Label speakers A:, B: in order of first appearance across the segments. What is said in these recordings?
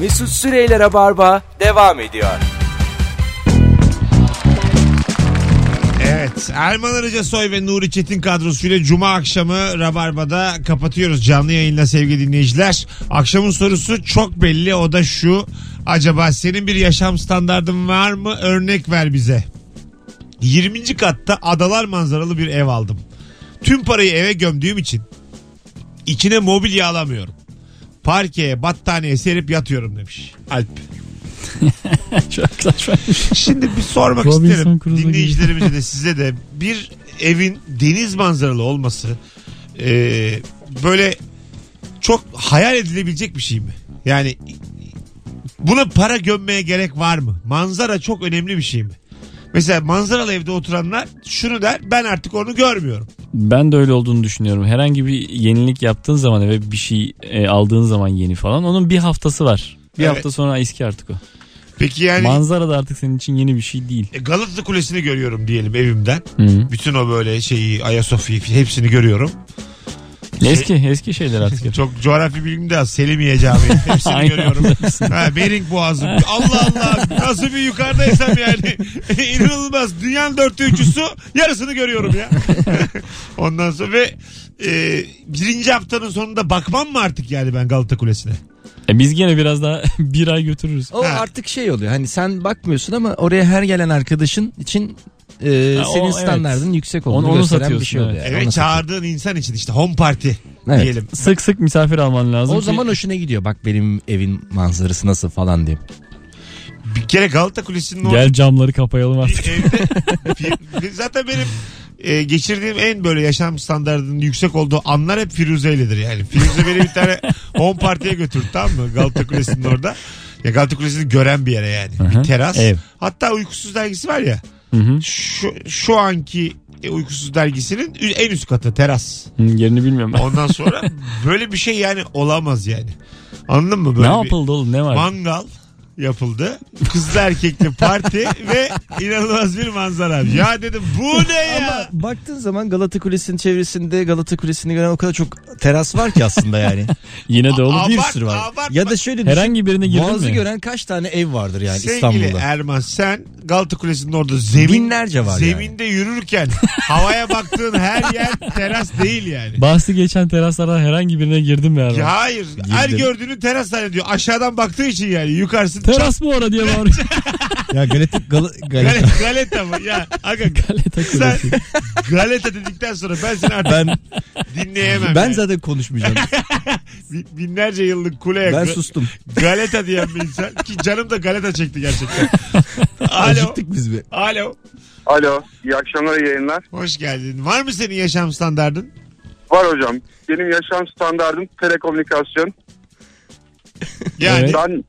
A: Mesut Süreyler'e barba devam ediyor.
B: Evet Erman Arıca Soy ve Nuri Çetin kadrosuyla Cuma akşamı Rabarba'da kapatıyoruz canlı yayınla sevgili dinleyiciler. Akşamın sorusu çok belli o da şu. Acaba senin bir yaşam standardın var mı? Örnek ver bize. 20. katta adalar manzaralı bir ev aldım. Tüm parayı eve gömdüğüm için içine mobilya alamıyorum. Parkeye, battaniyeye serip yatıyorum demiş. Alp.
C: Çok saçmaymış.
B: Şimdi bir sormak
C: Robinson
B: isterim
C: Crusoe gibi.
B: dinleyicilerimize de size de bir evin deniz manzaralı olması e, böyle çok hayal edilebilecek bir şey mi? Yani buna para gömmeye gerek var mı? Manzara çok önemli bir şey mi? Mesela manzaralı evde oturanlar şunu der ben artık onu görmüyorum.
C: Ben de öyle olduğunu düşünüyorum. Herhangi bir yenilik yaptığın zaman ve bir şey e, aldığın zaman yeni falan onun bir haftası var. Bir
B: Evet. Hani-
C: hafta sonra eski artık o.
B: Peki yani
C: Manzara da artık senin için yeni bir şey değil.
B: e, Galata Kulesi'ni görüyorum diyelim evimden.
C: Hı.
B: Bütün o böyle şeyi Ayasofya'yı hepsini görüyorum.
C: Şey- Eski eski şeyler artık.
B: Çok coğrafi bilgim de az. Selimiye Camii. Hepsini
C: Aynen.
B: görüyorum. ha, Bering Boğazı. Allah Allah. Nasıl bir yukarıdaysam yani. İnanılmaz. Dünyanın dörtte üçüsü yarısını görüyorum ya. Ondan sonra ve e, birinci haftanın sonunda bakmam mı artık yani ben Galata Kulesi'ne?
C: E, biz gene biraz daha bir ay götürürüz.
D: O
B: Ha.
D: artık şey oluyor hani sen bakmıyorsun ama oraya her gelen arkadaşın için e,
C: Ha, o,
D: senin
C: evet.
D: standardın yüksek olduğunu
C: Onu- onu
D: gösteren bir
C: satıyorsun,
D: şey oluyor.
C: evet.
D: yani.
B: Evet
D: Onu satıyorsun.
B: çağırdığın insan için işte home party
D: Evet.
B: diyelim.
C: Sık sık misafir alman lazım.
D: O
C: ki-
D: zaman hoşuna gidiyor bak benim evin manzarası nasıl falan diye.
B: Bir kere Galata Kulesi'nin o
C: gel camları kapayalım artık.
B: bir evde bir- bir- zaten benim e, geçirdiğim en böyle yaşam standartının yüksek olduğu anlar hep Firuze iledir yani. Firuze beni bir tane home partiye götürdü tamam mı? Galata Kulesi'nin orada. Ya Galata Kulesi'ni gören bir yere yani. Bir teras.
C: Ev.
B: Hatta Uykusuz Dergisi var ya.
C: Hı hı.
B: Şu, şu anki e, Uykusuz Dergisi'nin ü- en üst katı teras.
C: Hı, Yerini bilmiyorum ben.
B: Ondan sonra böyle bir şey yani olamaz yani. Anladın mı? Böyle
C: ne
B: bir-
C: yapıldı oğlum ne var?
B: mangal yapıldı. Kızlı erkekli parti ve inanılmaz bir manzara. Ya dedim bu ne
D: Ama
B: ya?
D: baktığın zaman Galata Kulesi'nin çevresinde Galata Kulesi'ni gören o kadar çok teras var ki aslında yani.
C: Yine de oğlum
B: Abart-
C: bir
D: bir sürü var.
B: abartma.
D: Ya da şöyle düşün.
C: herhangi birine girdin
D: Boğazı
C: mi?
D: gören kaç tane ev vardır yani
B: Sevgili
D: İstanbul'da?
B: Erman sen Galata Kulesi'nin orada zemin
D: Binlerce var yani.
B: zeminde yürürken havaya baktığın her yer teras değil yani.
C: Bahsi geçen teraslardan herhangi birine girdin mi? Erman?
B: Ya hayır. Her
D: Girdim.
B: gördüğünü teras zannediyor. Aşağıdan baktığı için yani. Yukarısı çat-
C: Teras bu ara diye bağırıyor.
D: Ya Galata, Gal- Galata.
B: Galeta, galeta mı? Ya aga
C: Galeta
B: sen
C: kulesi.
B: galeta dedikten sonra ben seni artık
D: Ben,
B: dinleyemem.
D: ben
B: yani.
D: zaten konuşmayacağım.
B: Bin- Binlerce yıllık kuleye
D: ben
B: ga-
D: sustum.
B: Galeta diyen bir insan. Ki canım da galeta çekti gerçekten. Alo.
D: Acıktık biz be.
B: Alo.
E: Alo, iyi akşamlar, iyi yayınlar.
B: Hoş geldin. Var mı senin yaşam standardın?
E: Var hocam, benim yaşam standardım telekomünikasyon.
B: Yani
C: Evet.
E: Ben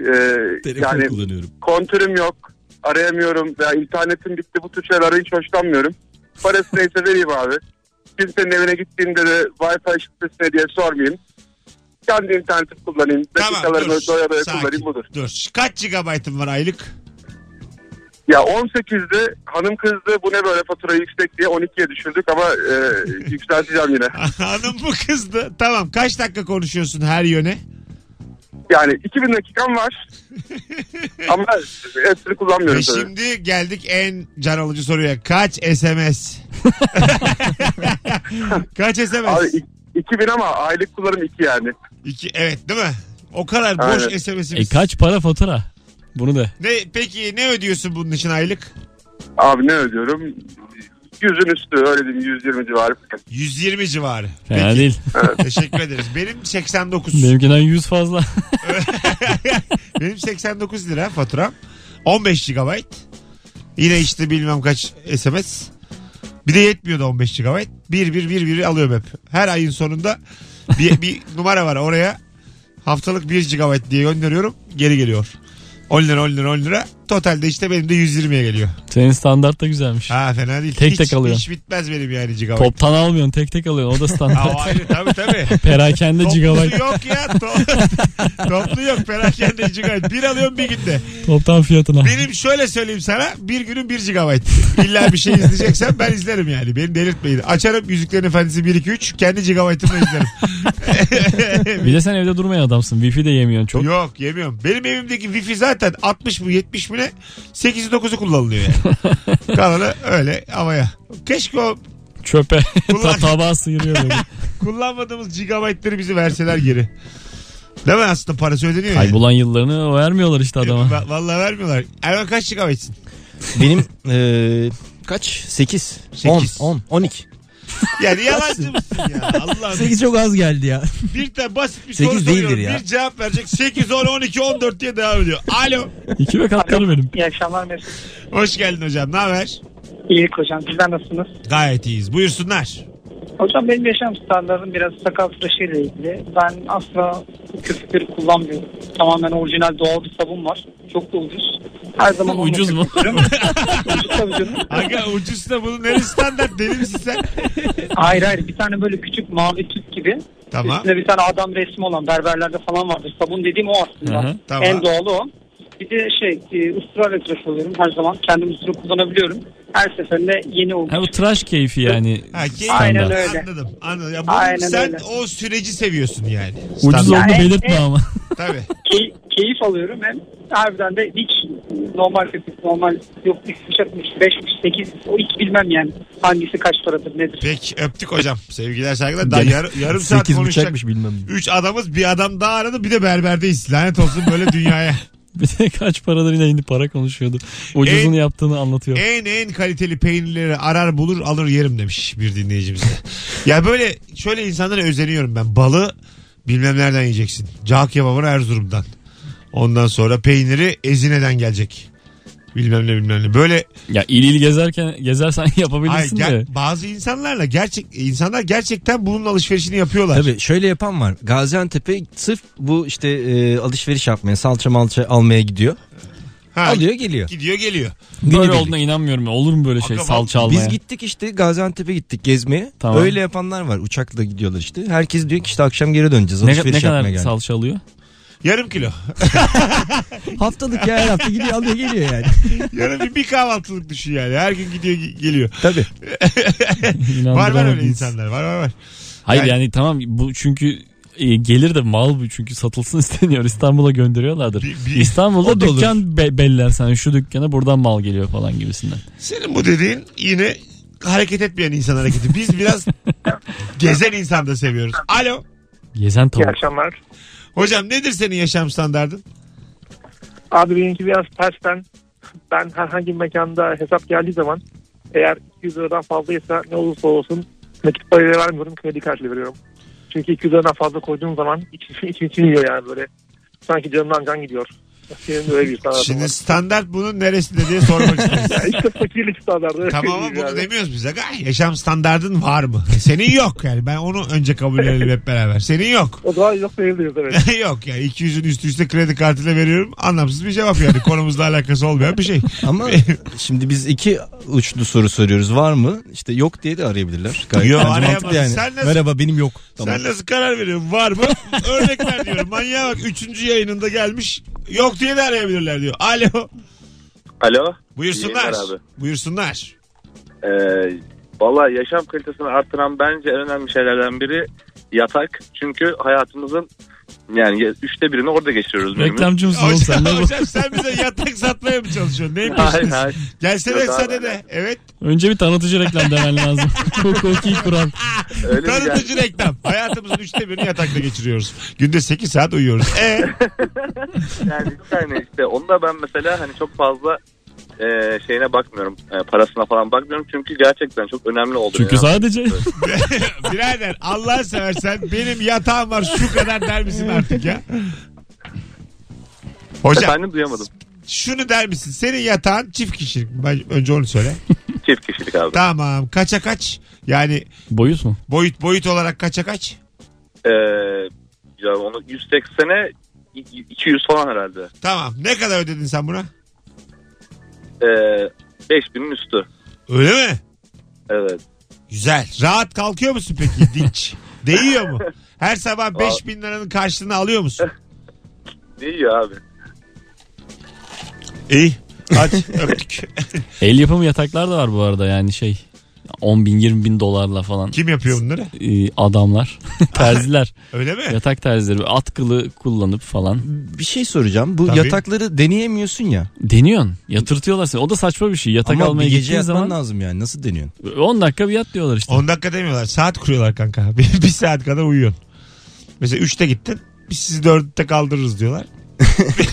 E: e,
D: Telefon
E: yani
D: kullanıyorum.
E: kontürüm yok, arayamıyorum veya internetim bitti bu tür şeylerden hiç hoşlanmıyorum. Parası neyse vereyim abi. Kimsenin evine gittiğimde de Wi-Fi şifresi ne diye sormayayım. Kendi internetimi kullanayım,
B: tamam
E: dakikalarımı
B: dur.
E: doya doya
B: Sakin.
E: kullanayım budur.
B: Dur. Kaç gigabaytın var aylık?
E: Ya 18'de hanım kızdı bu ne böyle fatura yüksek diye 12'ye düşürdük ama e, yükselteceğim yine.
B: Hanım mı kızdı? Tamam. Kaç dakika konuşuyorsun her yöne?
E: Yani 2000 dakikam var. Ama hepsini kullanmıyorum
B: Ve
E: tabii.
B: şimdi geldik en can alıcı soruya. Kaç SMS? Kaç SMS?
E: Abi i- 2000 ama aylık kullanım 2 yani.
B: İki, evet değil mi? O kadar boş
E: Aynen.
C: e
B: SMS'imiz.
C: kaç para fatura? Bunu da.
B: ne, peki ne ödüyorsun bunun için aylık?
E: Abi ne ödüyorum? Yüzün üstü öyle diyeyim 120 civarı.
B: 120 civarı.
C: Fena
B: Peki.
C: değil.
B: Teşekkür ederiz. Benim 89. Benim,
C: Benimkinden 100 fazla.
B: 89 lira faturam. 15 GB. Yine işte bilmem kaç SMS. Bir de yetmiyordu 15 GB. Bir bir bir bir alıyorum hep. Her ayın sonunda bir, bir numara var oraya. Haftalık 1 GB diye gönderiyorum. Geri geliyor. 10 lira 10 lira 10 lira. Totalde işte benim de 120'ye geliyor.
C: Senin standart da güzelmiş.
B: Ha fena değil.
C: Tek
B: hiç,
C: tek alıyor.
B: Hiç bitmez benim yani gigabyte.
C: Toptan almıyorsun tek tek alıyorsun. O da
B: Ha, o
C: standart.
B: ayrı tabii tabii.
C: Perakende
B: Toplu
C: gigabyte.
B: yok ya. To- Toplu yok. Perakende gigabyte. Bir alıyorum bir günde.
C: Toptan fiyatına.
B: Benim şöyle söyleyeyim sana. Bir günüm bir gigabyte. İlla bir şey izleyeceksen ben izlerim yani. Beni delirtmeyin. Açarım Yüzüklerin Efendisi 1-2-3. Kendi gigabyte'ımla izlerim.
C: Bir de sen evde durmayan adamsın. Wifi de yemiyorsun çok.
B: Yok yemiyorum. Benim evimdeki wifi zaten 60 mı 70 mi ne 8'i 9'u kullanılıyor yani. Kalanı öyle havaya. Keşke o
C: Çöpe
B: Ulan.
C: ta- tabağa sıyırıyor böyle.
B: kullanmadığımız gigabaytları bizi verseler geri. Değil mi aslında parası ödeniyor yani.
C: Kaybolan yıllarını vermiyorlar işte adama.
B: Va- Vallahi vermiyorlar. Erman kaç gigabaytsın?
D: Benim eee, kaç? 8.
B: Sekiz.
D: 10, 12.
B: Yani yalancı mısın ya? Allah'ım.
D: 8 çok az geldi ya.
B: Bir tane basit bir soru
D: Sekiz değildir
B: soruyorum.
D: ya.
B: Bir cevap verecek. 8, 10, 12, 14 diye devam ediyor. Alo.
C: İki ve katları benim.
F: İyi akşamlar Mesut.
B: Hoş geldin hocam. Ne haber?
F: İyilik hocam. Sizler nasılsınız?
B: Gayet iyiyiz. Buyursunlar.
F: Hocam benim yaşam standartım biraz sakal tıraşıyla ilgili. Ben asla köpükleri kullanmıyorum. Tamamen orijinal doğal bir sabun var. Çok da ucuz. Her zaman onunla
C: Ucuz mu?
F: köpürtüyorum. ucuz tabii canım.
B: Aga ucuz da bunun neresi standart? Deli misin sen?
F: Hayır hayır. Bir tane böyle küçük mavi tüp gibi.
B: Tamam.
F: Üstünde bir tane adam resmi olan berberlerde falan vardır. Sabun dediğim o aslında.
C: Hı hı,
B: tamam.
F: En doğalı o. Bir de şey e, ısrarla tıraş oluyorum her zaman. Kendim ısırı kullanabiliyorum. Her seferinde yeni
C: Ha bu
F: olmuş.
C: tıraş keyfi yani.
B: Ha, keyif.
F: Aynen
C: Standart.
F: öyle.
B: Anladım. Anladım. Ya bunu
F: Aynen
B: sen
F: öyle.
B: o süreci seviyorsun yani.
C: Ucuz
B: Standart.
C: olduğunu
F: Yani-
C: belirtme ama.
B: Tabii.
F: Key- keyif alıyorum hem harbiden de hiç normal köpük normal yok 360 5'miş 8 o hiç bilmem yani hangisi kaç paradır nedir.
B: Peki öptük hocam. Sevgiler saygılar. Daha yar- yarım saat
D: 8
B: konuşacak.
D: bıçakmış bilmem.
B: Üç adamız bir adam daha aradı bir de berberdeyiz. Lanet olsun böyle dünyaya.
C: Bir de kaç paradır yine indi para konuşuyordu. Ucuzunu
B: En-
C: yaptığını anlatıyor.
B: en en kaliteli peynirleri arar bulur alır yerim demiş bir dinleyicimiz. ya böyle şöyle insanlara özeniyorum ben. Balı bilmem nereden yiyeceksin. Cağ kebabını Erzurum'dan. Ondan sonra peyniri Ezine'den gelecek. Bilmem ne bilmem ne. Böyle
C: Ya il il gezerken gezersen
B: Ay,
C: yapabilirsin
B: ger-
C: de.
B: bazı insanlarla gerçek insanlar gerçekten bunun alışverişini yapıyorlar.
D: Tabii şöyle yapan var. Gaziantep'e sırf bu işte eee, alışveriş yapmaya, salça malça almaya gidiyor.
B: Ha,
D: Alıyor geliyor.
B: Gidiyor geliyor.
C: Böyle
D: Günübirlik.
C: olduğuna inanmıyorum. ya. Olur mu böyle şey
B: Aga,
C: salça almaya?
D: Biz gittik işte Gaziantep'e gittik gezmeye.
C: Tamam.
D: Öyle yapanlar var. Uçakla gidiyorlar işte. Herkes diyor ki işte akşam geri döneceğiz.
C: ne,
D: Alışveriş
C: ne
D: yapmaya
C: kadar
D: geldik.
C: salça alıyor?
B: Yarım kilo.
D: Haftalık ya her hafta gidiyor alıyor geliyor yani.
B: Yarım bir, bir kahvaltılık düşün yani. Her gün gidiyor ge- geliyor.
D: Tabii.
B: Var var öyle
C: İnandıramadınız.
B: insanlar. Var var var.
C: Hayır
B: Yani-
C: yani, tamam bu çünkü e, gelir de mal bu çünkü satılsın isteniyor. İstanbul'a gönderiyorlardır.
B: Bir- bir-
C: İstanbul'da
D: O da olur.
C: dükkan be- beller sana şu dükkana buradan mal geliyor falan gibisinden.
B: Senin bu dediğin yine hareket etmeyen insan hareketi. Biz biraz gezen insan da seviyoruz. Alo.
C: Gezen tavuk.
G: akşamlar.
B: Hocam nedir senin yaşam standardın?
G: Abi benimki biraz tersten. Ben herhangi bir mekanda hesap geldiği zaman eğer 200 liradan fazlaysa ne olursa olsun nakit parayla vermiyorum kredi kartıyla veriyorum. Çünkü 200 liradan fazla koyduğum zaman içim içim içilmiyor yani böyle. Sanki canımdan can gidiyor. Benim böyle bir sanatım
B: Şimdi
G: var.
B: standart bunun neresinde diye sormak istedim.
G: Ya işte fakirlik standartları.
B: Tamam ama
G: Yani.
B: bunu demiyoruz biz. Aga. Yaşam standardın var mı? Senin yok yani. Ben onu önce kabul edelim hep beraber. Senin yok.
G: O zaman yok diyebiliriz evet.
B: yok ya 200'ün üstü üste kredi kartıyla veriyorum. Anlamsız bir cevap yani. Konumuzla alakası olmayan bir şey.
D: Ama şimdi biz iki uçlu soru soruyoruz. Var mı? İşte yok diye de arayabilirler.
B: Yok, hani
D: bence
B: arayamaz.
D: mantıklı yani.
B: Sen nasıl-
D: Merhaba benim yok. Tamam.
B: Sen nasıl karar veriyorsun? Var mı? Örnek ver diyorum. Manyağa bak. Üçüncü yayınında gelmiş. Yok diye de arayabilirler diyor. Alo.
H: Alo.
B: Buyursunlar.
H: İyi yayınlar
B: Buyursunlar.
H: Ee, Valla yaşam kalitesini artıran bence en önemli şeylerden biri yatak. Çünkü hayatımızın yani ya- üçte birini orada geçiriyoruz. benim.
C: Reklamcı mısın oğlum sen?
B: Hocam,
C: Ne bu?
B: hocam sen bize yatak satmaya mı çalışıyorsun? Neyin
H: Hayır
B: peşindesin?
H: hayır.
B: Gelsene
H: Yok
B: efsane
H: abi.
B: de. Evet.
C: Önce bir tanıtıcı reklam demen lazım. Hukuki kural.
H: Öyle bir yer.
B: Tanıtıcı reklam. Hayatımızın üçte birini yatakta geçiriyoruz. Günde 8 saat uyuyoruz. E,
H: Yani bir tane işte onu da ben mesela hani çok fazla e, şeyine bakmıyorum. E, parasına falan bakmıyorum. Çünkü gerçekten çok önemli oldu.
C: Çünkü
H: yani.
C: sadece
B: birader Allah seversen benim yatağım var şu kadar der misin artık ya? Hocam
H: Efendim duyamadım.
B: şunu der misin? Senin yatağın çift kişilik. mi? Ben önce onu söyle.
H: Çift kişilik abi.
B: Tamam. Kaça kaç? Yani
C: boyut mu?
B: boyut boyut olarak kaça kaç?
H: Ee, ya onu 180'e 200 falan herhalde.
B: Tamam. Ne kadar ödedin sen buna?
H: e, 5000'in üstü.
B: Öyle mi?
H: Evet.
B: Güzel. Rahat kalkıyor musun peki dinç? Değiyor mu? Her sabah 5000 liranın karşılığını alıyor musun?
H: İyi abi.
B: İyi. Hadi öptük.
C: El yapımı yataklar da var bu arada yani şey 10 bin 20 bin dolarla falan
B: Kim yapıyor bunları?
C: Ee, adamlar terziler
B: Öyle mi?
C: yatak terzileri böyle at kılı kullanıp falan
D: Bir şey soracağım. Bu
B: Tabii.
D: yatakları deneyemiyorsun ya.
C: deniyorsun yatırtıyorlar seni o da saçma bir şey yatak
D: Ama bir
C: almaya
D: gece
C: gittiğin
D: yatman
C: zaman
D: lazım yani. Nasıl deniyorsun?
C: 10 dakika bir yat diyorlar işte
B: 10 dakika demiyorlar. Saat kuruyorlar kanka. Bir, bir saat kadar uyuyorsun. Mesela 3'te gittin. Biz sizi 4'te kaldırırız diyorlar.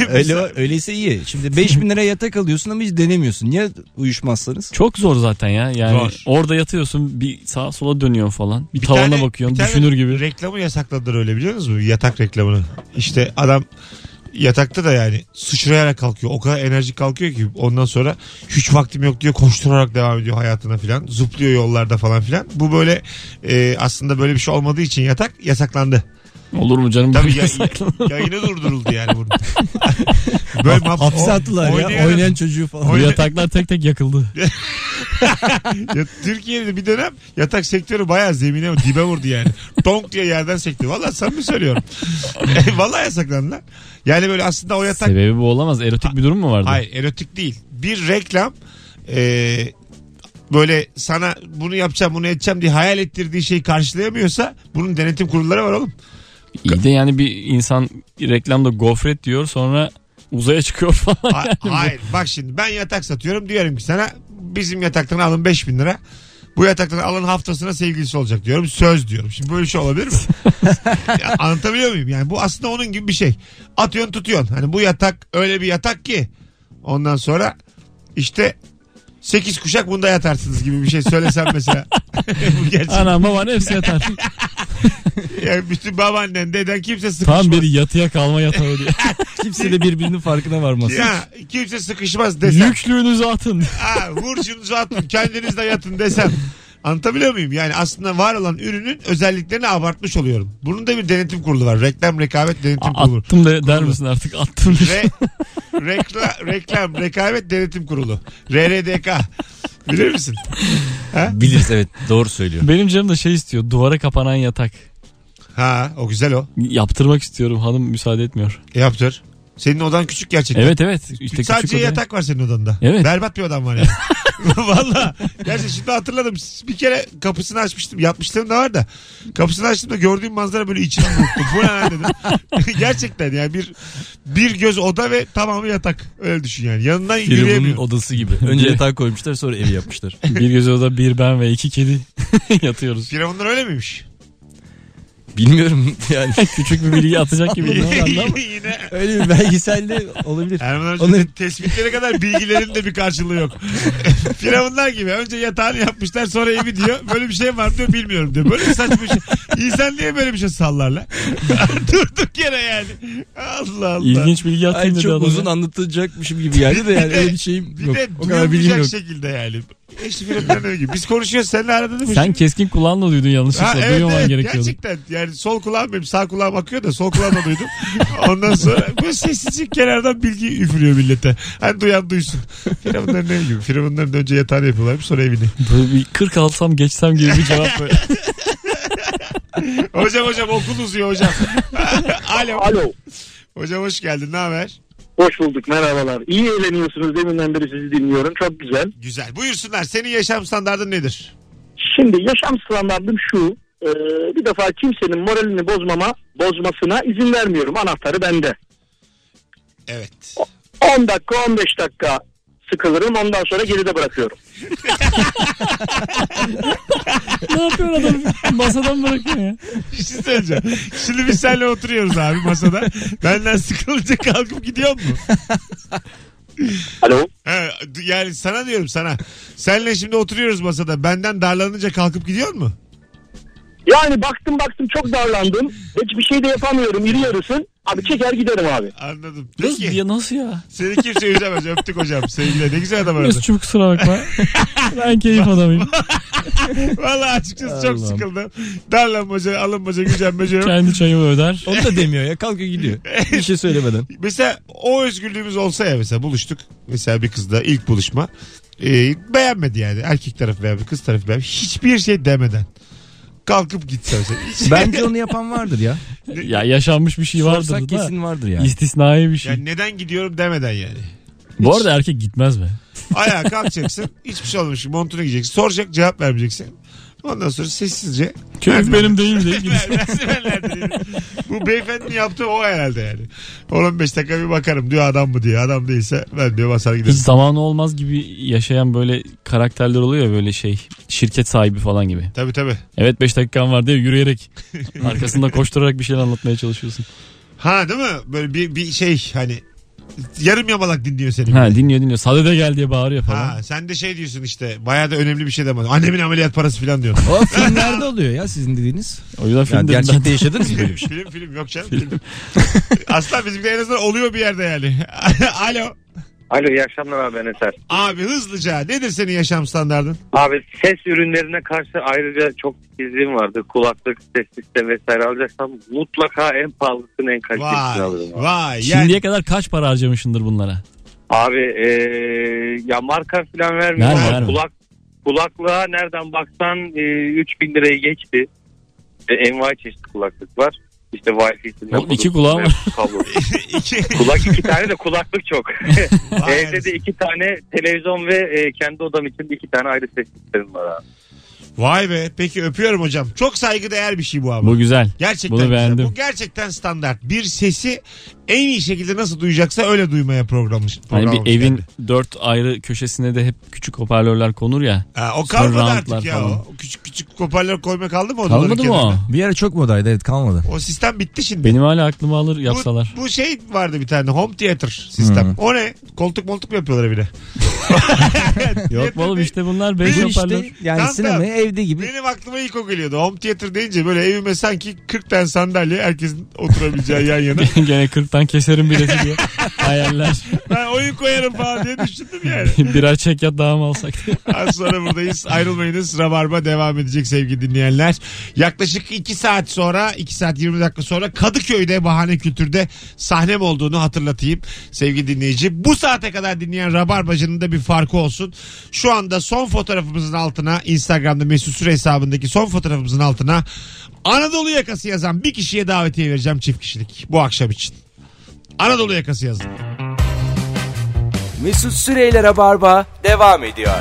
D: Öyle öyleyse iyi. Şimdi 5000 lira yatak alıyorsun ama hiç denemiyorsun. Niye uyuşmazsanız?
C: çok zor zaten ya yani
B: Zor.
C: orada yatıyorsun bir sağa sola dönüyorsun falan bir,
B: Bir
C: tavana
B: tane-
C: bakıyorsun
B: bir tane
C: düşünür gibi
B: Reklamı yasakladılar öyle biliyor musunuz? Yatak reklamını. İşte adam yatakta da yani sıçrayarak kalkıyor. O kadar enerjik kalkıyor ki ondan sonra hiç vaktim yok diyor koşturarak devam ediyor hayatına filan. Zıplıyor yollarda falan filan. Bu böyle e, aslında böyle bir şey olmadığı için yatak yasaklandı.
C: olur mu canım
B: Tabii
C: Böyle
B: ya-
C: saklanır.
B: Yayını durduruldu yani bunun. böyle maf-
D: Hapse attılar ya.
B: oynayarak-
D: Oynayan çocuğu falan.
C: bu
B: Oyna-
C: yataklar tek tek yakıldı
B: Ya Türkiye'de bir dönem yatak sektörü bayağı zemine dibe vurdu yani. Tonk diye yerden sekti. Valla samimi söylüyorum. Valla yasaklandılar. Yani böyle aslında o yatak
C: sebebi bu olamaz erotik bir durum mu vardı
B: hayır erotik değil. Bir reklam e, böyle sana bunu yapacağım bunu edeceğim diye hayal ettirdiği şeyi karşılayamıyorsa bunun denetim kurulları var oğlum.
C: İyi de yani bir insan reklamda gofret diyor sonra uzaya çıkıyor falan.
B: Ha- hayır bak şimdi ben yatak satıyorum diyorum ki sana bizim yataktan alın 5000 lira. Bu yataktan alın haftasına sevgilisi olacak diyorum. Söz diyorum. Şimdi böyle bir şey olabilir mi? Ya anlatabiliyor muyum? Yani bu aslında onun gibi bir şey. Atıyorsun tutuyorsun. Hani bu yatak öyle bir yatak ki ondan sonra işte 8 kuşak bunda yatarsınız gibi bir şey söylesem mesela. bu gerçek.
C: Anam baban hepsi yatar.
B: Yani bütün babaannen deden kimse sıkışmaz.
C: Tam bir yatıya kalma yatağı diyor.
D: Kimse de birbirinin farkına varmaz.
B: Ya kimse sıkışmaz desem.
C: Yüklüğünüzü atın.
B: ha, vuruşunuzu atın kendiniz de yatın desem. Anlatabiliyor muyum? Yani aslında var olan ürünün özelliklerini abartmış oluyorum. Bunun da bir denetim kurulu var. Reklam rekabet denetim kurulu.
C: Attım da der misin artık attım.
B: Re, rekla, reklam rekabet denetim kurulu. RRDK. Bilir misin?
D: Biliriz evet doğru söylüyor.
C: Benim canım da şey istiyor duvara kapanan yatak.
B: Ha o güzel o.
C: Yaptırmak istiyorum hanım müsaade etmiyor.
B: Yaptır. Senin odan küçük gerçekten.
C: Evet evet. İşte
B: Sadece
C: küçük odaya-
B: yatak var senin odanda.
C: Evet.
B: Berbat bir odan var yani. Valla. Gerçi şimdi hatırladım. Bir kere kapısını açmıştım. Yatmışlığım da var da. Kapısını açtım da gördüğüm manzara böyle içimi burktu. Bu ne lan dedim. Gerçekten yani bir bir göz oda ve tamamı yatak. Öyle düşün yani. Yanından
D: Firavun'un
B: yürüyemiyorum.
D: odası gibi. Önce yatağı koymuşlar sonra evi yapmışlar.
C: Bir göz oda bir ben ve iki kedi yatıyoruz.
B: Firavunlar öyle miymiş?
D: Bilmiyorum yani.
C: Küçük bir bilgi atacak gibi. değil mi? Anlam-
B: Yine
D: Öyle bir belgeselde olabilir.
B: Erman Hoca'nın
D: Onların
B: tespitlere kadar bilgilerin de bir karşılığı yok. Firavunlar gibi. Önce yatağını yapmışlar sonra evi diyor. Böyle bir şey var mı diyor bilmiyorum diyor. Böyle bir saçma bir şey. İnsan niye böyle bir şey sallar lan? Durduk yere yani. Allah Allah.
C: İlginç bilgi
D: Ay,
C: atayım dedi
D: çok
C: adama.
D: uzun anlatacakmışım gibi geldi de yani öyle bir şeyim
B: Bir
D: yok.
B: de
D: O kadar bilgim
B: duyulmayacak
D: yok.
B: şekilde yani. Eşli Firavunların evi gibi. Biz konuşuyoruz seninle arada değil mi?
C: Sen
B: Şimdi-
C: keskin kulağınla duydun yanlışlıkla.
B: Ha, evet,
C: Duymaman
B: evet.
C: gerekiyordu.
B: Gerçekten yani sol kulağım benim sağ kulağım akıyor da sol kulağımda duydum. Ondan sonra bu sessizlik kenardan bilgi üfürüyor millete. Hani duyan duysun. Firavunların evi gibi. Firavunların önce yatağını yapıyorlarmış sonra evini.
C: Böyle bir 40 alsam geçsem gibi bir cevap böyle.
B: Hocam hocam okul uzuyor hocam. Alo.
I: Alo.
B: Hocam hoş geldin ne haber?
I: Hoş bulduk merhabalar. İyi eğleniyorsunuz deminden beri sizi dinliyorum. Çok güzel.
B: Güzel. Buyursunlar senin yaşam standardın nedir?
I: Şimdi yaşam standartım şu. e, bir defa kimsenin moralini bozmama, bozmasına izin vermiyorum. Anahtarı bende.
B: Evet.
I: 10 dakika 15 dakika sıkılırım ondan sonra geride bırakıyorum.
C: ne yapıyor adam? Masadan bırakıyor ya.
B: Bir şey söyleyeceğim. Şimdi biz seninle oturuyoruz abi masada. Benden sıkılınca kalkıp gidiyor mu?
I: Alo.
B: He, yani sana diyorum sana. Seninle şimdi oturuyoruz masada. Benden darlanınca kalkıp gidiyor mu?
I: Yani baktım baktım çok darlandım. Hiçbir şey de yapamıyorum. İri yarısın. Abi çeker giderim abi.
B: Anladım.
C: Nasıl
B: Peki.
C: ya nasıl ya?
B: Seni kimse üzemez. Öptük hocam. Sevgiler. Ne güzel adam aradı.
C: Mesut'cum kusura bakma. ben keyif adamıyım.
B: Valla açıkçası çok
C: Allah'ım.
B: sıkıldım. Darlanmaca, alınmaca, gücenmece yok.
C: Kendi çayımı öder.
D: Onu da demiyor ya kalkıyor gidiyor. Bir şey söylemeden.
B: Mesela o özgürlüğümüz olsa ya mesela buluştuk. Mesela bir kızla ilk buluşma. Ee, beğenmedi yani. Erkek tarafı beğenmedi, kız tarafı beğenmedi. Hiçbir şey demeden. Kalkıp gitse mesela. şey Hiç-
D: Bence onu yapan vardır ya.
C: Ya yaşanmış bir şey vardır da.
D: Sorsak kesin vardır yani.
C: İstisnai bir şey.
B: Yani neden gidiyorum demeden yani.
C: Bu arada erkek gitmez be.
B: Ayağa kalkacaksın. hiçbir şey olmamış. gibi Montunu giyeceksin. Soracak cevap vermeyeceksin. Ondan sonra sessizce
C: Keyif benim değil deyip gidiyor.
B: merdivenlerden inip- Bu beyefendinin yaptığı o herhalde yani. 15 dakika bir bakarım diyor adam mı diyor. Adam değilse ben diyor basar
C: Hiç
B: giderim.
C: zamanı olmaz gibi yaşayan böyle karakterler oluyor ya böyle şey şirket sahibi falan gibi.
B: Tabii tabii.
C: Evet 5 dakikan var diye yürüyerek arkasında koşturarak bir şeyler anlatmaya çalışıyorsun.
B: Ha değil mi? Böyle bir, bir şey hani yarım yamalak dinliyor seni.
C: Ha dinliyor dinliyor. Sadede gel diye bağırıyor falan.
B: Ha, sen de şey diyorsun işte bayağı da önemli bir şey demedin. Annemin ameliyat parası falan diyorsun.
D: O filmlerde oluyor ya sizin dediğiniz.
C: O yüzden
D: Yani
C: film dedim
D: gerçekte yaşadınız mı böyle bir şey?
B: film film yok canım. Film. Aslan bizimde en azından oluyor bir yerde yani. Alo.
E: Alo iyi akşamlar abi ben Eser.
B: Abi hızlıca nedir senin yaşam standardın?
E: Abi ses ürünlerine karşı ayrıca çok izin vardı. Kulaklık, ses sistemi vesaire alacaksam mutlaka en pahalısını en
B: Vay.
E: kalitelisini alırım. Abi,
B: Vay.
C: Şimdiye
B: Yani,
C: kadar kaç para harcamışındır bunlara?
E: abi eee, ya marka falan vermiyor.
C: Verme,
E: Abi
C: verme.
E: Kulak, kulaklığa nereden baksan eee, 3000 lirayı geçti. Ve envai çeşit kulaklık var. İşte Wi-Fi'sinden.
C: Oğlum iki
E: bulup-
C: kulağı var.
E: kablo.
B: iki,
E: Kulak iki tane de kulaklık çok.
B: vay
E: Evde de iki tane televizyon ve eee, kendi odam için iki tane ayrı ses sistemim var abi.
B: Vay be. Peki öpüyorum hocam. Çok saygıdeğer bir şey bu ama.
C: Bu güzel.
B: gerçekten
C: bunu
B: güzel.
C: beğendim.
B: Bu gerçekten standart. Bir sesi en iyi şekilde nasıl duyacaksa öyle duymaya programmış.
C: Hani
B: programlamış
C: bir evin
B: kendi.
C: dört ayrı köşesine de hep küçük hoparlörler konur ya.
B: Ha, o
C: Sonra
B: kalmadı artık
C: roundlar
B: ya.
C: falan.
B: O. Küçük küçük hoparlör koyma kaldı mı? odaların
C: Kalmadı mı o?
B: kenarına?
D: Bir ara çok modaydı evet kalmadı.
B: O sistem bitti şimdi.
C: Benim hala aklıma alır yapsalar.
B: Bu, bu şey vardı bir tane home theater sistem. O ne? Koltuk moltuk mu yapıyorlar evine?
C: Yok mu oğlum işte bunlar beş
D: Bu
C: hoparlör.
D: işte yani
B: Tamam,
D: sinema
B: tamam.
D: evde gibi.
B: Benim aklıma ilk o geliyordu. Home theater deyince böyle evime sanki 40 tane sandalye herkesin oturabileceği yan yana.
C: Gene 40'tan keserim bileti diye hayaller.
B: Ben oyun koyarım falan diye düşündüm yani.
C: Birer çekyat daha mı alsak diye.
B: Az sonra buradayız. Ayrılmayınız. Rabarba devam edecek sevgili dinleyenler. Yaklaşık 2 saat sonra 2 saat 20 dakika sonra Kadıköy'de Bahane Kültür'de sahnem olduğunu hatırlatayım sevgili dinleyici. Bu saate kadar dinleyen Rabarbacı'nın da bir farkı olsun. Şu anda son fotoğrafımızın altına Instagram'da Mesut Süre hesabındaki son fotoğrafımızın altına Anadolu yakası yazan bir kişiye davetiye vereceğim çift kişilik bu akşam için. Anadolu yakası yazın.
A: Mesut Süreyler'e barba devam ediyor.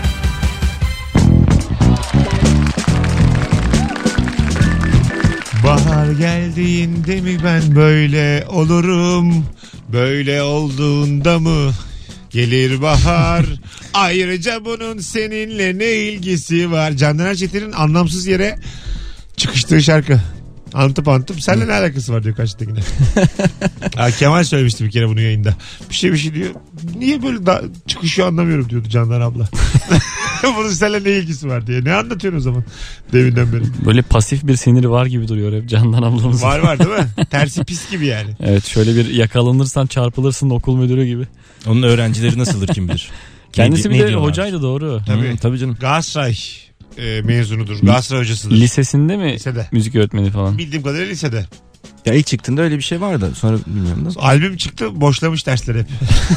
B: Bahar geldiğinde mi ben böyle olurum? Böyle olduğunda mı? Gelir bahar. Ayrıca bunun seninle ne ilgisi var? Candan Erçetin'in anlamsız yere çıkıştığı şarkı. Antıp antıp seninle ne alakası var diyor karşıdakine. ha, Kemal söylemişti bir kere bunu yayında. Bir şey bir şey diyor. Niye böyle da- çıkışı anlamıyorum diyordu Candan abla. bunun seninle ne ilgisi var diye. Ne anlatıyorsun o zaman? Deminden beri.
C: Böyle pasif bir siniri var gibi duruyor hep Candan ablamızın.
B: Var var değil mi? Tersi pis gibi yani.
C: Evet şöyle bir yakalanırsan çarpılırsın okul müdürü gibi.
D: Onun öğrencileri nasıldır kim bilir.
C: Kendisi
D: Ne-
C: bir
D: ne
C: de
D: diyorlar?
C: hocaydı doğru.
D: Hı, Hmm, Tabii. canım.
B: Galatasaray e, mezunudur. Galatasaray hocasıdır.
C: Lisesinde mi
B: Lisede.
C: müzik öğretmeni falan?
B: Bildiğim kadarıyla lisede.
D: Ya ilk çıktığında öyle bir şey vardı. Sonra bilmiyorum nasıl.
B: Albüm çıktı boşlamış dersleri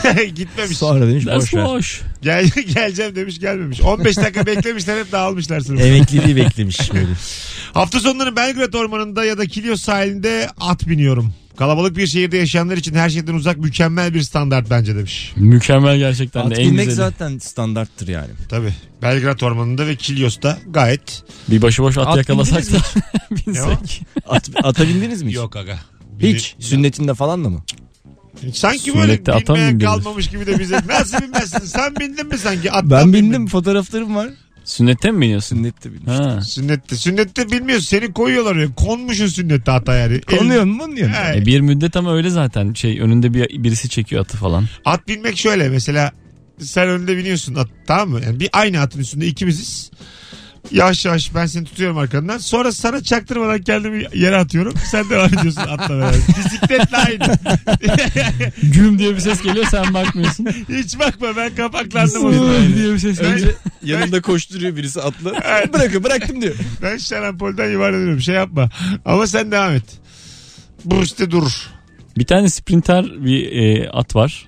B: hep. Gitmemiş.
D: Sonra demiş
C: Ders
D: boş ver.
C: boş.
B: Gel, geleceğim demiş gelmemiş. 15 dakika beklemişler hep dağılmışlar sınıf.
D: Emekliliği beklemiş böyle.
B: Hafta sonları Belgrad Ormanı'nda ya da Kilyos sahilinde at biniyorum. Kalabalık bir şehirde yaşayanlar için her şeyden uzak mükemmel bir standart bence demiş.
C: Mükemmel gerçekten
D: At
C: de en
D: bilmek
C: güzeli.
D: zaten standarttır yani.
B: Tabii. Belgrad Ormanı'nda ve Kilyos'ta gayet.
C: Bir başıboş at,
D: At
C: yakalasak da
D: bindiniz
C: binsek.
D: At, ata bindiniz mi hiç?
B: Yok aga.
D: Hiç. Sünnetinde falan da mı?
B: Sanki
C: Sünnette
B: böyle
C: ata mı
B: binmeyen
C: bindiniz?
B: kalmamış gibi de bize. Nasıl binmezsin? Sen bindin mi sanki? Attan
D: Ben
B: binmedin.
D: bindim fotoğraflarım var.
C: Sünnette mi biniyorsun?
D: Sünnette bindim.
C: Ha.
B: Sünnette. Sünnette bilmiyorsun. Seni koyuyorlar ya. Konmuşsun sünnette hata yani.
D: Konuyor mu diyorum.
B: El- He,
C: E bir müddet ama öyle zaten şey önünde bir birisi çekiyor atı falan.
B: at binmek şöyle mesela sen önde biniyorsun at tamam mı? Yani bir aynı atın üstünde ikimiziz. Yavaş yavaş ben seni tutuyorum arkandan. Sonra sana çaktırmadan kendimi yere atıyorum. Sen devam ediyorsun atla beraber. Bisikletle aynı.
C: Güm diye bir ses geliyor sen bakmıyorsun.
B: Hiç bakma ben kapaklandım. orada.
C: Güm diye bir ses geliyor.
D: Önce yanında koşturuyor birisi atla. Bırakın bıraktım diyor.
B: Ben şarampolden yuvarlanıyorum şey yapma. Ama sen devam et. Bu işte durur.
C: Bir tane sprinter bir e, at var.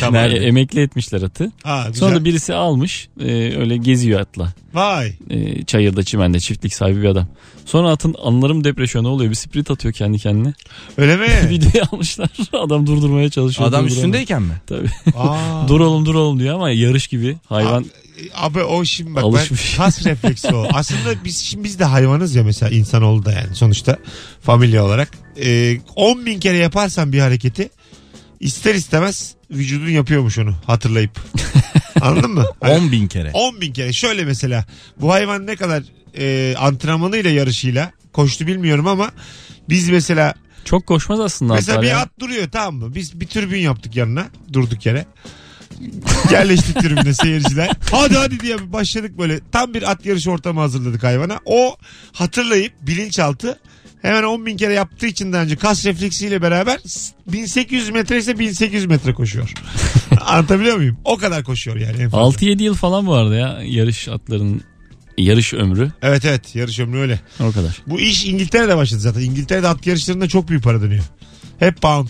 B: Tamam.
C: E, emekli etmişler atı.
B: Ha, güzel.
C: Sonra da birisi almış e, öyle geziyor atla.
B: Vay.
C: E, çayırda çimende çiftlik sahibi bir adam. Sonra atın anlarım depresyonu oluyor bir sprint atıyor kendi kendine.
B: Öyle mi?
C: Videoyu almışlar adam durdurmaya çalışıyor.
D: Adam
C: durduramıyor.
D: üstündeyken mi?
C: Tabii.
B: Aa.
C: dur oğlum dur oğlum diyor ama yarış gibi hayvan.
B: Abi o şimdi bak
C: Alışmış.
B: ben kas refleksi o. Aslında biz şimdi biz de hayvanız ya mesela insanoğlu da yani sonuçta familya olarak. Ee, 10 bin kere yaparsan bir hareketi ister istemez vücudun yapıyormuş onu hatırlayıp. Anladın mı? Hani
D: 10 bin kere.
B: 10 bin kere şöyle mesela bu hayvan ne kadar e, antrenmanıyla yarışıyla koştu bilmiyorum ama biz mesela
C: Çok koşmaz aslında
B: Mesela
C: atlar
B: bir
C: ya.
B: at duruyor tamam mı? Biz bir tribün yaptık yanına durduk yere. Yerleştik tribüne seyirciler. Hadi hadi diye başladık böyle. Tam bir at yarışı ortamı hazırladık hayvana. O hatırlayıp bilinçaltı hemen 10 bin kere yaptığı için daha önce kas refleksiyle beraber 1800 metre ise 1800 metre koşuyor. Anlatabiliyor muyum? O kadar koşuyor yani. En fazla.
C: 6-7 yıl falan bu arada ya yarış atların yarış ömrü
B: Evet evet yarış ömrü öyle.
C: o kadar.
B: Bu iş İngiltere'de başladı zaten. İngiltere'de at yarışlarında çok büyük para dönüyor. Hep pound.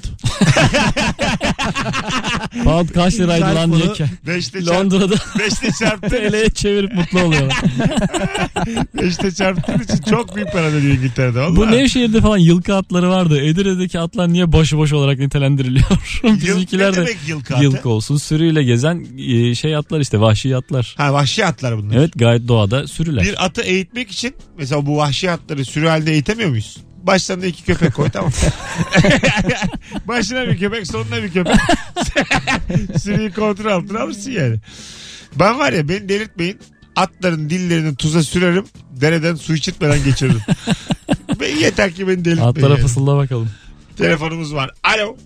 C: Pound kaç liraydı lan diye ke-
B: Beşte çarp,
C: Londra'da
B: beşte çarptı.
C: TL'ye çevirip mutlu oluyorlar.
B: İşte çarptığın için çok büyük para veriyor İngiltere'de. Vallahi.
C: Bu Nevşehir'de falan yılkı atları vardı. Edirne'deki atlar niye başıboş olarak nitelendiriliyor?
B: Yıl, ne
C: Bizimkiler de
B: demek yıl kartı?
C: yılkı olsun. Sürüyle gezen e, şey atlar işte vahşi atlar.
B: Ha vahşi atlar bunlar.
C: Evet gayet doğada sürüler.
B: Bir atı eğitmek için mesela bu vahşi atları sürü halde eğitemiyor muyuz? Başlarına iki köpek koy tamam. Başına bir köpek sonuna bir köpek. Sürüyü kontrol altına alırsın yani. Ben var ya beni delirtmeyin. Atların dillerini tuza sürerim. Dereden su içirtmeden geçiririm. ben, yeter ki beni delirtmeyin.
C: Atlara
B: yani.
C: fısılda bakalım.
B: Telefonumuz var. Alo.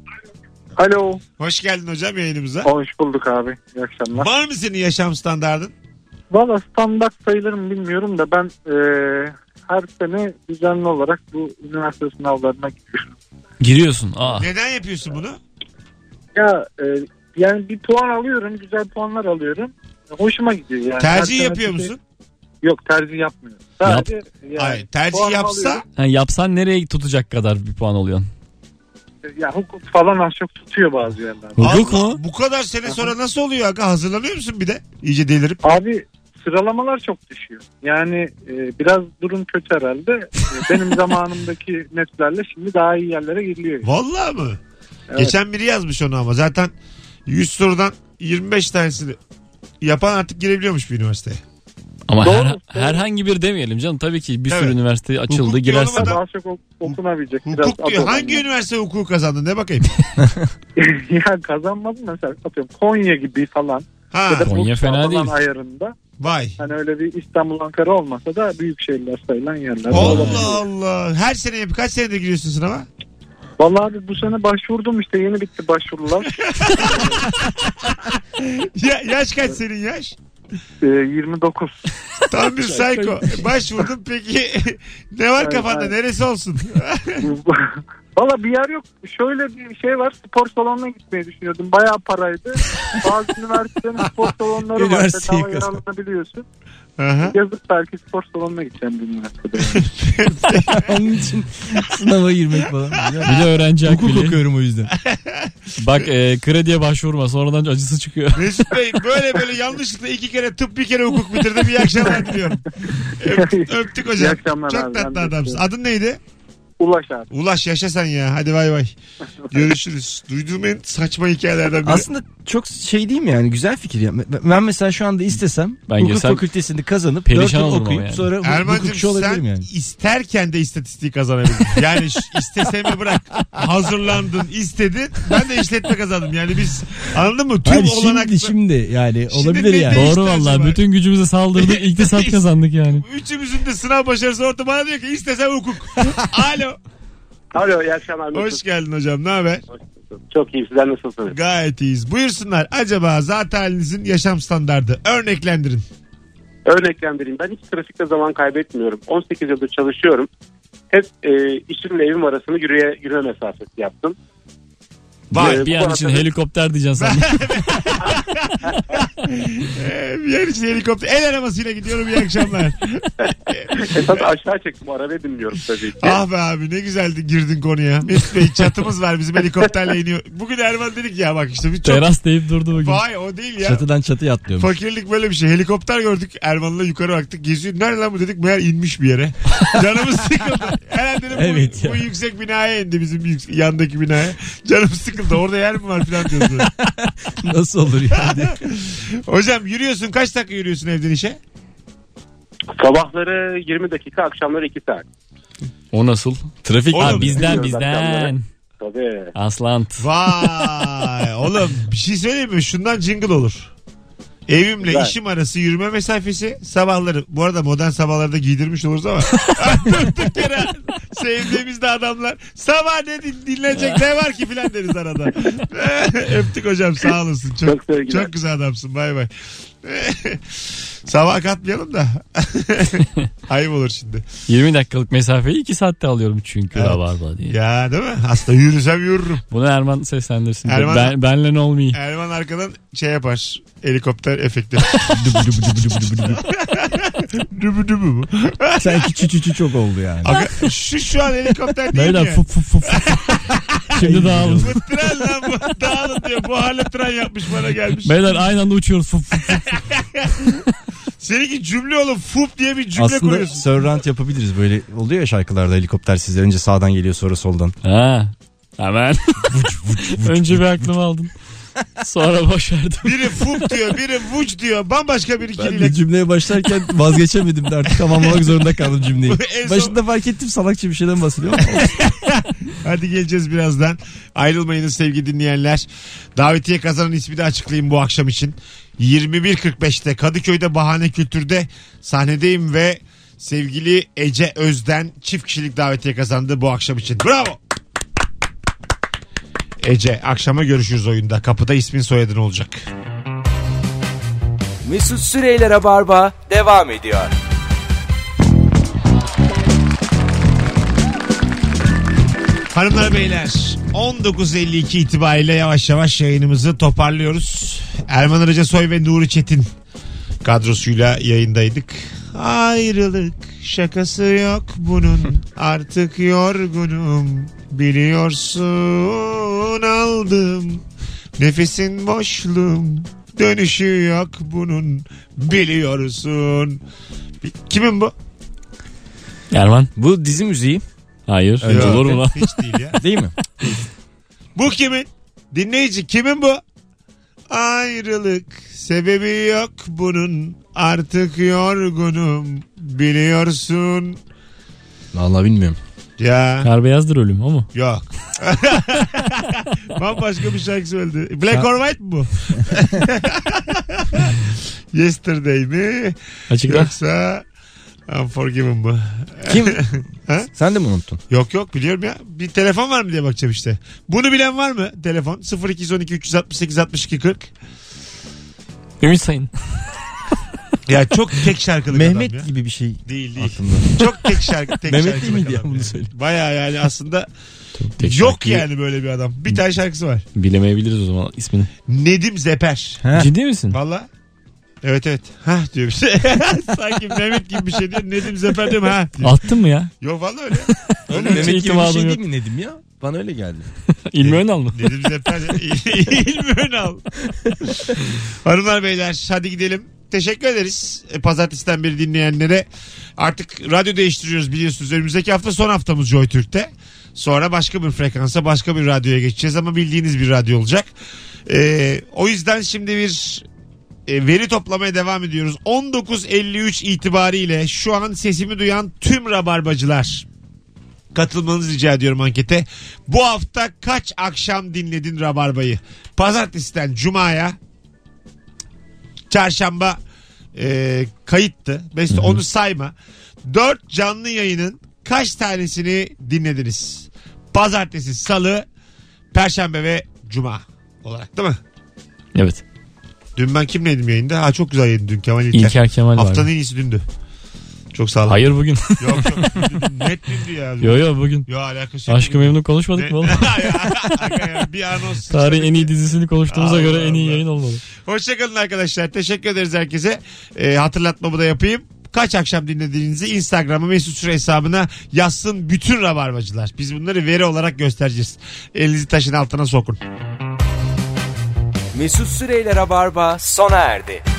E: Alo.
B: Hoş geldin hocam yayınımıza.
E: Hoş bulduk abi. İyi akşamlar.
B: Var mı senin yaşam standardın?
E: Valla standart sayılırım bilmiyorum da ben e, her sene düzenli olarak bu üniversite sınavlarına gidiyorum.
C: Giriyorsun. Aa.
B: Neden yapıyorsun bunu?
E: Ya e, yani bir puan alıyorum. Güzel puanlar alıyorum. Hoşuma gidiyor yani. Her
B: Tercih
E: sene
B: yapıyor
E: bir- şey-
B: musun?
E: Yok tercih yapmıyorum. Sadece yani
B: Hayır, tercih
E: puan
B: yapsa
E: alıyorum.
C: Ha, yapsan nereye tutacak kadar bir puan oluyorsun?
E: Ya hukuk falan az çok tutuyor bazı yerler.
C: Hukuk
B: Allah,
C: mu?
B: bu kadar sene sonra nasıl oluyor aga? Hazırlanıyor musun bir de? İyice delirip.
E: Abi sıralamalar çok düşüyor. Yani e, biraz durum kötü herhalde. E, benim zamanımdaki netlerle şimdi daha iyi yerlere giriliyor.
B: Vallahi mı?
E: Evet.
B: Geçen biri yazmış onu ama zaten 100 sorudan 25 tanesini yapan artık girebiliyormuş bir üniversiteye.
C: Ama
E: Doğru,
C: her-
E: doğru.
C: herhangi bir demeyelim canım. Tabii ki bir sürü
B: Evet.
C: üniversite açıldı
B: Hukuk
C: girersin.
B: diyorum
E: Daha çok ok- okunabilecek. biraz
B: Hukuk diyor.
E: atıyorum
B: Hangi
E: yani.
B: üniversite hukuku kazandın? Ne bakayım?
E: ya kazanmadım mesela atıyorum Konya gibi falan.
B: Ha,
E: Ya da
C: Konya
E: Bursa
C: fena
E: falan
C: değil.
E: ayarında.
B: vay.
E: Hani öyle bir İstanbul Ankara olmasa da büyük şehirler sayılan yerler.
B: Allah Allah. Her sene yap- kaç senede giriyorsun sınava?
E: Vallahi abi bu sene başvurdum işte yeni bitti başvurular.
B: Ya, yaş kaç senin yaş?
E: E, 29.
B: Tam bir psycho. Başvurdun peki. ne var
E: Ay,
B: kafanda?
E: ay.
B: Neresi olsun?
E: Valla bir yer yok. Şöyle bir şey var. Spor salonuna gitmeyi düşünüyordum. Bayağı paraydı. Bazı üniversitelerin spor salonları var.
D: Üniversiteyi
E: Bedava
D: kazan.
E: yararlanabiliyorsun.
B: Aha.
E: Yazık belki spor salonuna gideceğim bir üniversitede.
D: Onun için sınava girmek falan.
C: Bir de öğrenci
D: Hukuk
C: akbili.
D: okuyorum o yüzden.
C: Bak e, krediye başvurma sonradan acısı çıkıyor.
B: Mesut Bey böyle böyle yanlışlıkla iki kere tıp bir kere hukuk bitirdim. İyi akşamlar diliyorum. Öptük, öptük hocam.
E: İyi akşamlar
B: Çok
E: abi, ben
B: tatlı
E: de
B: adamsın.
E: öpüyorum.
B: Adın neydi?
E: Ulaş abi.
B: Ulaş yaşa sen ya. Hadi bay bay. Görüşürüz. Duyduğum en saçma hikayelerden biri.
D: Aslında çok şey değil mi yani güzel fikir. Ya. Ben- Ben mesela şu anda istesem
C: Ben
D: hukuk
C: girsem
D: fakültesini kazanıp
C: perişan
D: 4 yıl
C: olurum ama
D: okuyup
C: yani.
D: sonra hu-
B: Erman'cığım
D: hukukçu
B: sen
D: olabilirim yani.
B: isterken de istatistiği kazanabilirsin. Yani ş- istesemi bırak. Hazırlandın, istedin. Ben de işletme kazandım. Yani biz anladın mı? Tüm
D: Hayır,
B: olanaklar.
D: şimdi şimdi yani
B: Şimdi
D: olabilir
B: ne
D: yani.
B: değişti
C: Doğru
B: acaba?
C: vallahi bütün gücümüze saldırdık iktisat kazandık yani.
B: Üçümüzün de sınav başarısı orta bana diyor ki istesem hukuk. Alo.
I: Alo iyi akşamlar.
B: Hoş geldin hocam. Ne haber?
I: Çok iyi sizler nasılsınız?
B: Gayet iyiyiz. Buyursunlar. Acaba zat halinizin yaşam standardı. Örneklendirin.
E: Örnekten vereyim. Ben hiç trafikte zaman kaybetmiyorum. 18 yıldır çalışıyorum. Hep e, işimle evim arasını yürüye, yürüme mesafesi yaptım.
B: Vay.
E: Ee,
C: Bir an
E: bu
C: için
E: arada-
C: helikopter diyeceksin sen.
B: Ee, bir yer için helikopter. El arabasıyla gidiyorum iyi akşamlar.
E: Esas E, aşağı çektim. Arabaya dinliyorum tabii ki.
B: ah be abi ne güzeldi girdin konuya. Mesut Bey çatımız var bizim helikopterle iniyor. Bugün Erman dedik ya bak işte bir çok...
C: Teras deyip durdu bugün.
B: Vay o değil ya.
D: Çatıdan çatıya atlıyormuş.
B: Fakirlik böyle bir şey. Helikopter gördük. Erman'la yukarı baktık. Geziyor. Nerede lan bu dedik. Meğer inmiş bir yere. Canımız sıkıldı. Herhalde dedim bu,
D: Evet ya.
B: bu yüksek binaya indi bizim yüks- yandaki binaya. Canım sıkıldı. Orada yer mi var falan diyordu.
D: Nasıl olur yani?
B: Hocam yürüyorsun. Kaç dakika yürüyorsun evden işe?
E: Sabahları 20 dakika, akşamları 2 saat.
C: O nasıl?
D: Trafik
B: Oğlum,
C: Ha, bizden
E: bilmiyoruz akşamları.
C: bizden.
E: Tabii.
C: Aslant.
B: Vay. Oğlum bir şey söyleyeyim mi? Şundan jingle olur. Evimle
E: Güzel.
B: işim arası yürüme mesafesi sabahları. Bu arada modern sabahları da giydirmiş oluruz ama. Durduk yere sevdiğimiz de adamlar. Sabah ne din- dinlenecek ne var ki filan deriz arada. Öptük hocam sağ olasın. Çok,
E: Çok
B: çok,
E: sevgiler.
B: güzel adamsın bay bay. Sabah katmayalım da. Ayıp olur şimdi.
C: 20 dakikalık mesafeyi 2 saatte alıyorum çünkü
B: Evet.
C: rabarba diye.
B: Ya değil mi? Aslında yürüsem yürürüm.
C: Bunu Erman seslendirsin.
B: Erman-
C: Ben, benle ne olmayayım.
B: Erman arkadan şey yapar. Helikopter efekti. Dübü dübü bu.
D: Sanki çü çü çü çok oldu yani.
B: Aga, şu şu an helikopter değil mi?
C: Beyler
B: ya?
C: fup fup fup. fup. Şimdi dağılın.
B: Bu tren lan bu. Dağılın diyor. Bu hale tren yapmış bana gelmiş.
C: Beyler aynı anda uçuyoruz. Fup fup.
B: Seninki cümle oğlum. Fup diye bir cümle
D: Aslında
B: koyuyorsun.
D: surround yapabiliriz. Böyle oluyor ya şarkılarda helikopter size önce sağdan geliyor sonra soldan.
C: Ha. Hemen. Önce bir aklımı aldın. Sonra başardım.
B: Biri fup diyor, biri vuc diyor. Bambaşka bir ikiliyle.
D: cümleye başlarken vazgeçemedim de artık tamamlamak zorunda kaldım cümleyi.
B: En son-
D: Başında fark ettim salakça bir şeyden bahsediyor ama.
B: Hadi geleceğiz birazdan. Ayrılmayınız sevgili dinleyenler. Davetiye kazanan ismi de açıklayayım bu akşam için. 21.45'te Kadıköy'de Bahane Kültür'de sahnedeyim ve sevgili Ece Özden çift kişilik davetiye kazandı bu akşam için. Bravo. Ece akşama görüşürüz oyunda. Kapıda ismin soyadın olacak.
A: Mesut Süreyler'e barba devam ediyor.
B: Hanımlar beyler 19.52 itibariyle yavaş yavaş yayınımızı toparlıyoruz. Erman Arıca Soy ve Nuri Çetin kadrosuyla yayındaydık. Ayrılık şakası yok bunun artık yorgunum biliyorsun aldım nefesin boşluğum dönüşü yok bunun biliyorsun. Kimin bu?
C: Erman.
D: Bu dizi müziği
C: Hayır.
B: Yok.
C: Olur mu lan?
B: Hiç değil ya.
D: değil mi?
B: Bu kimin? Dinleyici kimin bu? Ayrılık sebebi yok bunun. Artık yorgunum biliyorsun.
D: Vallahi bilmiyorum.
B: Ya
C: Kar beyazdır ölüm ama.
B: yok. Bambaşka bir şarkı söyledi. Black or White mi bu? Yesterday mi?
C: Açıkla.
B: Yoksa Unforgiven mı?
D: Kim?
B: Ha?
D: Sen de mi unuttun?
B: Yok yok biliyorum ya. Bir telefon var mı diye bakacağım işte. Bunu bilen var mı? Telefon 0212 368 62 40.
C: Ümit Sayın.
B: Ya çok tek şarkılık
D: Mehmet
B: adam ya.
D: gibi bir şey
B: Değil değil.
D: aklımda.
B: Çok tek şarkı tek
D: Mehmet
B: şarkılık
D: değil miydi ya
B: adam
D: bunu
B: yani.
D: söyle.
B: Baya yani aslında
C: tek
B: yok
C: şarkıyı-
B: yani böyle bir adam. Bir tane şarkısı var.
C: Bilemeyebiliriz o zaman ismini.
B: Nedim Zeper.
D: Heh.
C: Ciddi misin?
B: Valla. Evet evet. Ha diyor bir şey. Sanki Mehmet gibi bir şey diyor. Nedim Zeper diyor mu? Ha diyor.
C: Attın mı ya?
B: Yok valla öyle.
D: Oğlum
C: Hiç
D: Mehmet gibi bir
C: itimadım
D: şey
C: yok.
D: değil mi Nedim ya? Bana öyle geldi.
C: İlmi Önal mı?
B: Nedim Zeper. İlmi Önal. Hanımlar beyler hadi gidelim. Teşekkür ederiz e, pazartesiden beri dinleyenlere. Artık radyo değiştiriyoruz biliyorsunuz. Önümüzdeki hafta son haftamız Joy Türk'te. Sonra başka bir frekansa başka bir radyoya geçeceğiz ama bildiğiniz bir radyo olacak. E, o yüzden şimdi bir e, veri toplamaya devam ediyoruz. 19.53 itibariyle şu an sesimi duyan tüm rabarbacılar katılmanızı rica ediyorum ankete. Bu hafta kaç akşam dinledin Rabarba'yı? Pazartesiden Cuma'ya Çarşamba e, kayıttı. Mesela onu sayma. 4 canlı yayının kaç tanesini dinlediniz? Pazartesi, Salı, Perşembe ve Cuma olarak değil mi?
C: Evet.
B: Dün ben kimle yedim yayında? Ha çok güzel yedin dün Kemal İlker.
C: İlker Kemal
B: Haftanın
C: var.
B: en iyisi dündü. Çok sağ ol.
C: Hayır bugün.
B: Yok yok. Net dündü ya.
C: yo yo bugün.
B: Yo alakası yok.
C: Aşkı Memnun konuşmadık mı oğlum?
B: Ne- bir anons.
C: Tarihin en iyi dizisini konuştuğumuza
B: Allah
C: göre en iyi
B: Allah.
C: yayın olmalı.
B: Hoşçakalın arkadaşlar. Teşekkür ederiz herkese. Ee, hatırlatmamı da yapayım. Kaç akşam dinlediğinizi Instagram'a Mesut Süre hesabına yazsın bütün rabarbacılar. Biz bunları veri olarak göstereceğiz. Elinizi taşın altına sokun.
A: Mesut Süreyler'e barba sona erdi.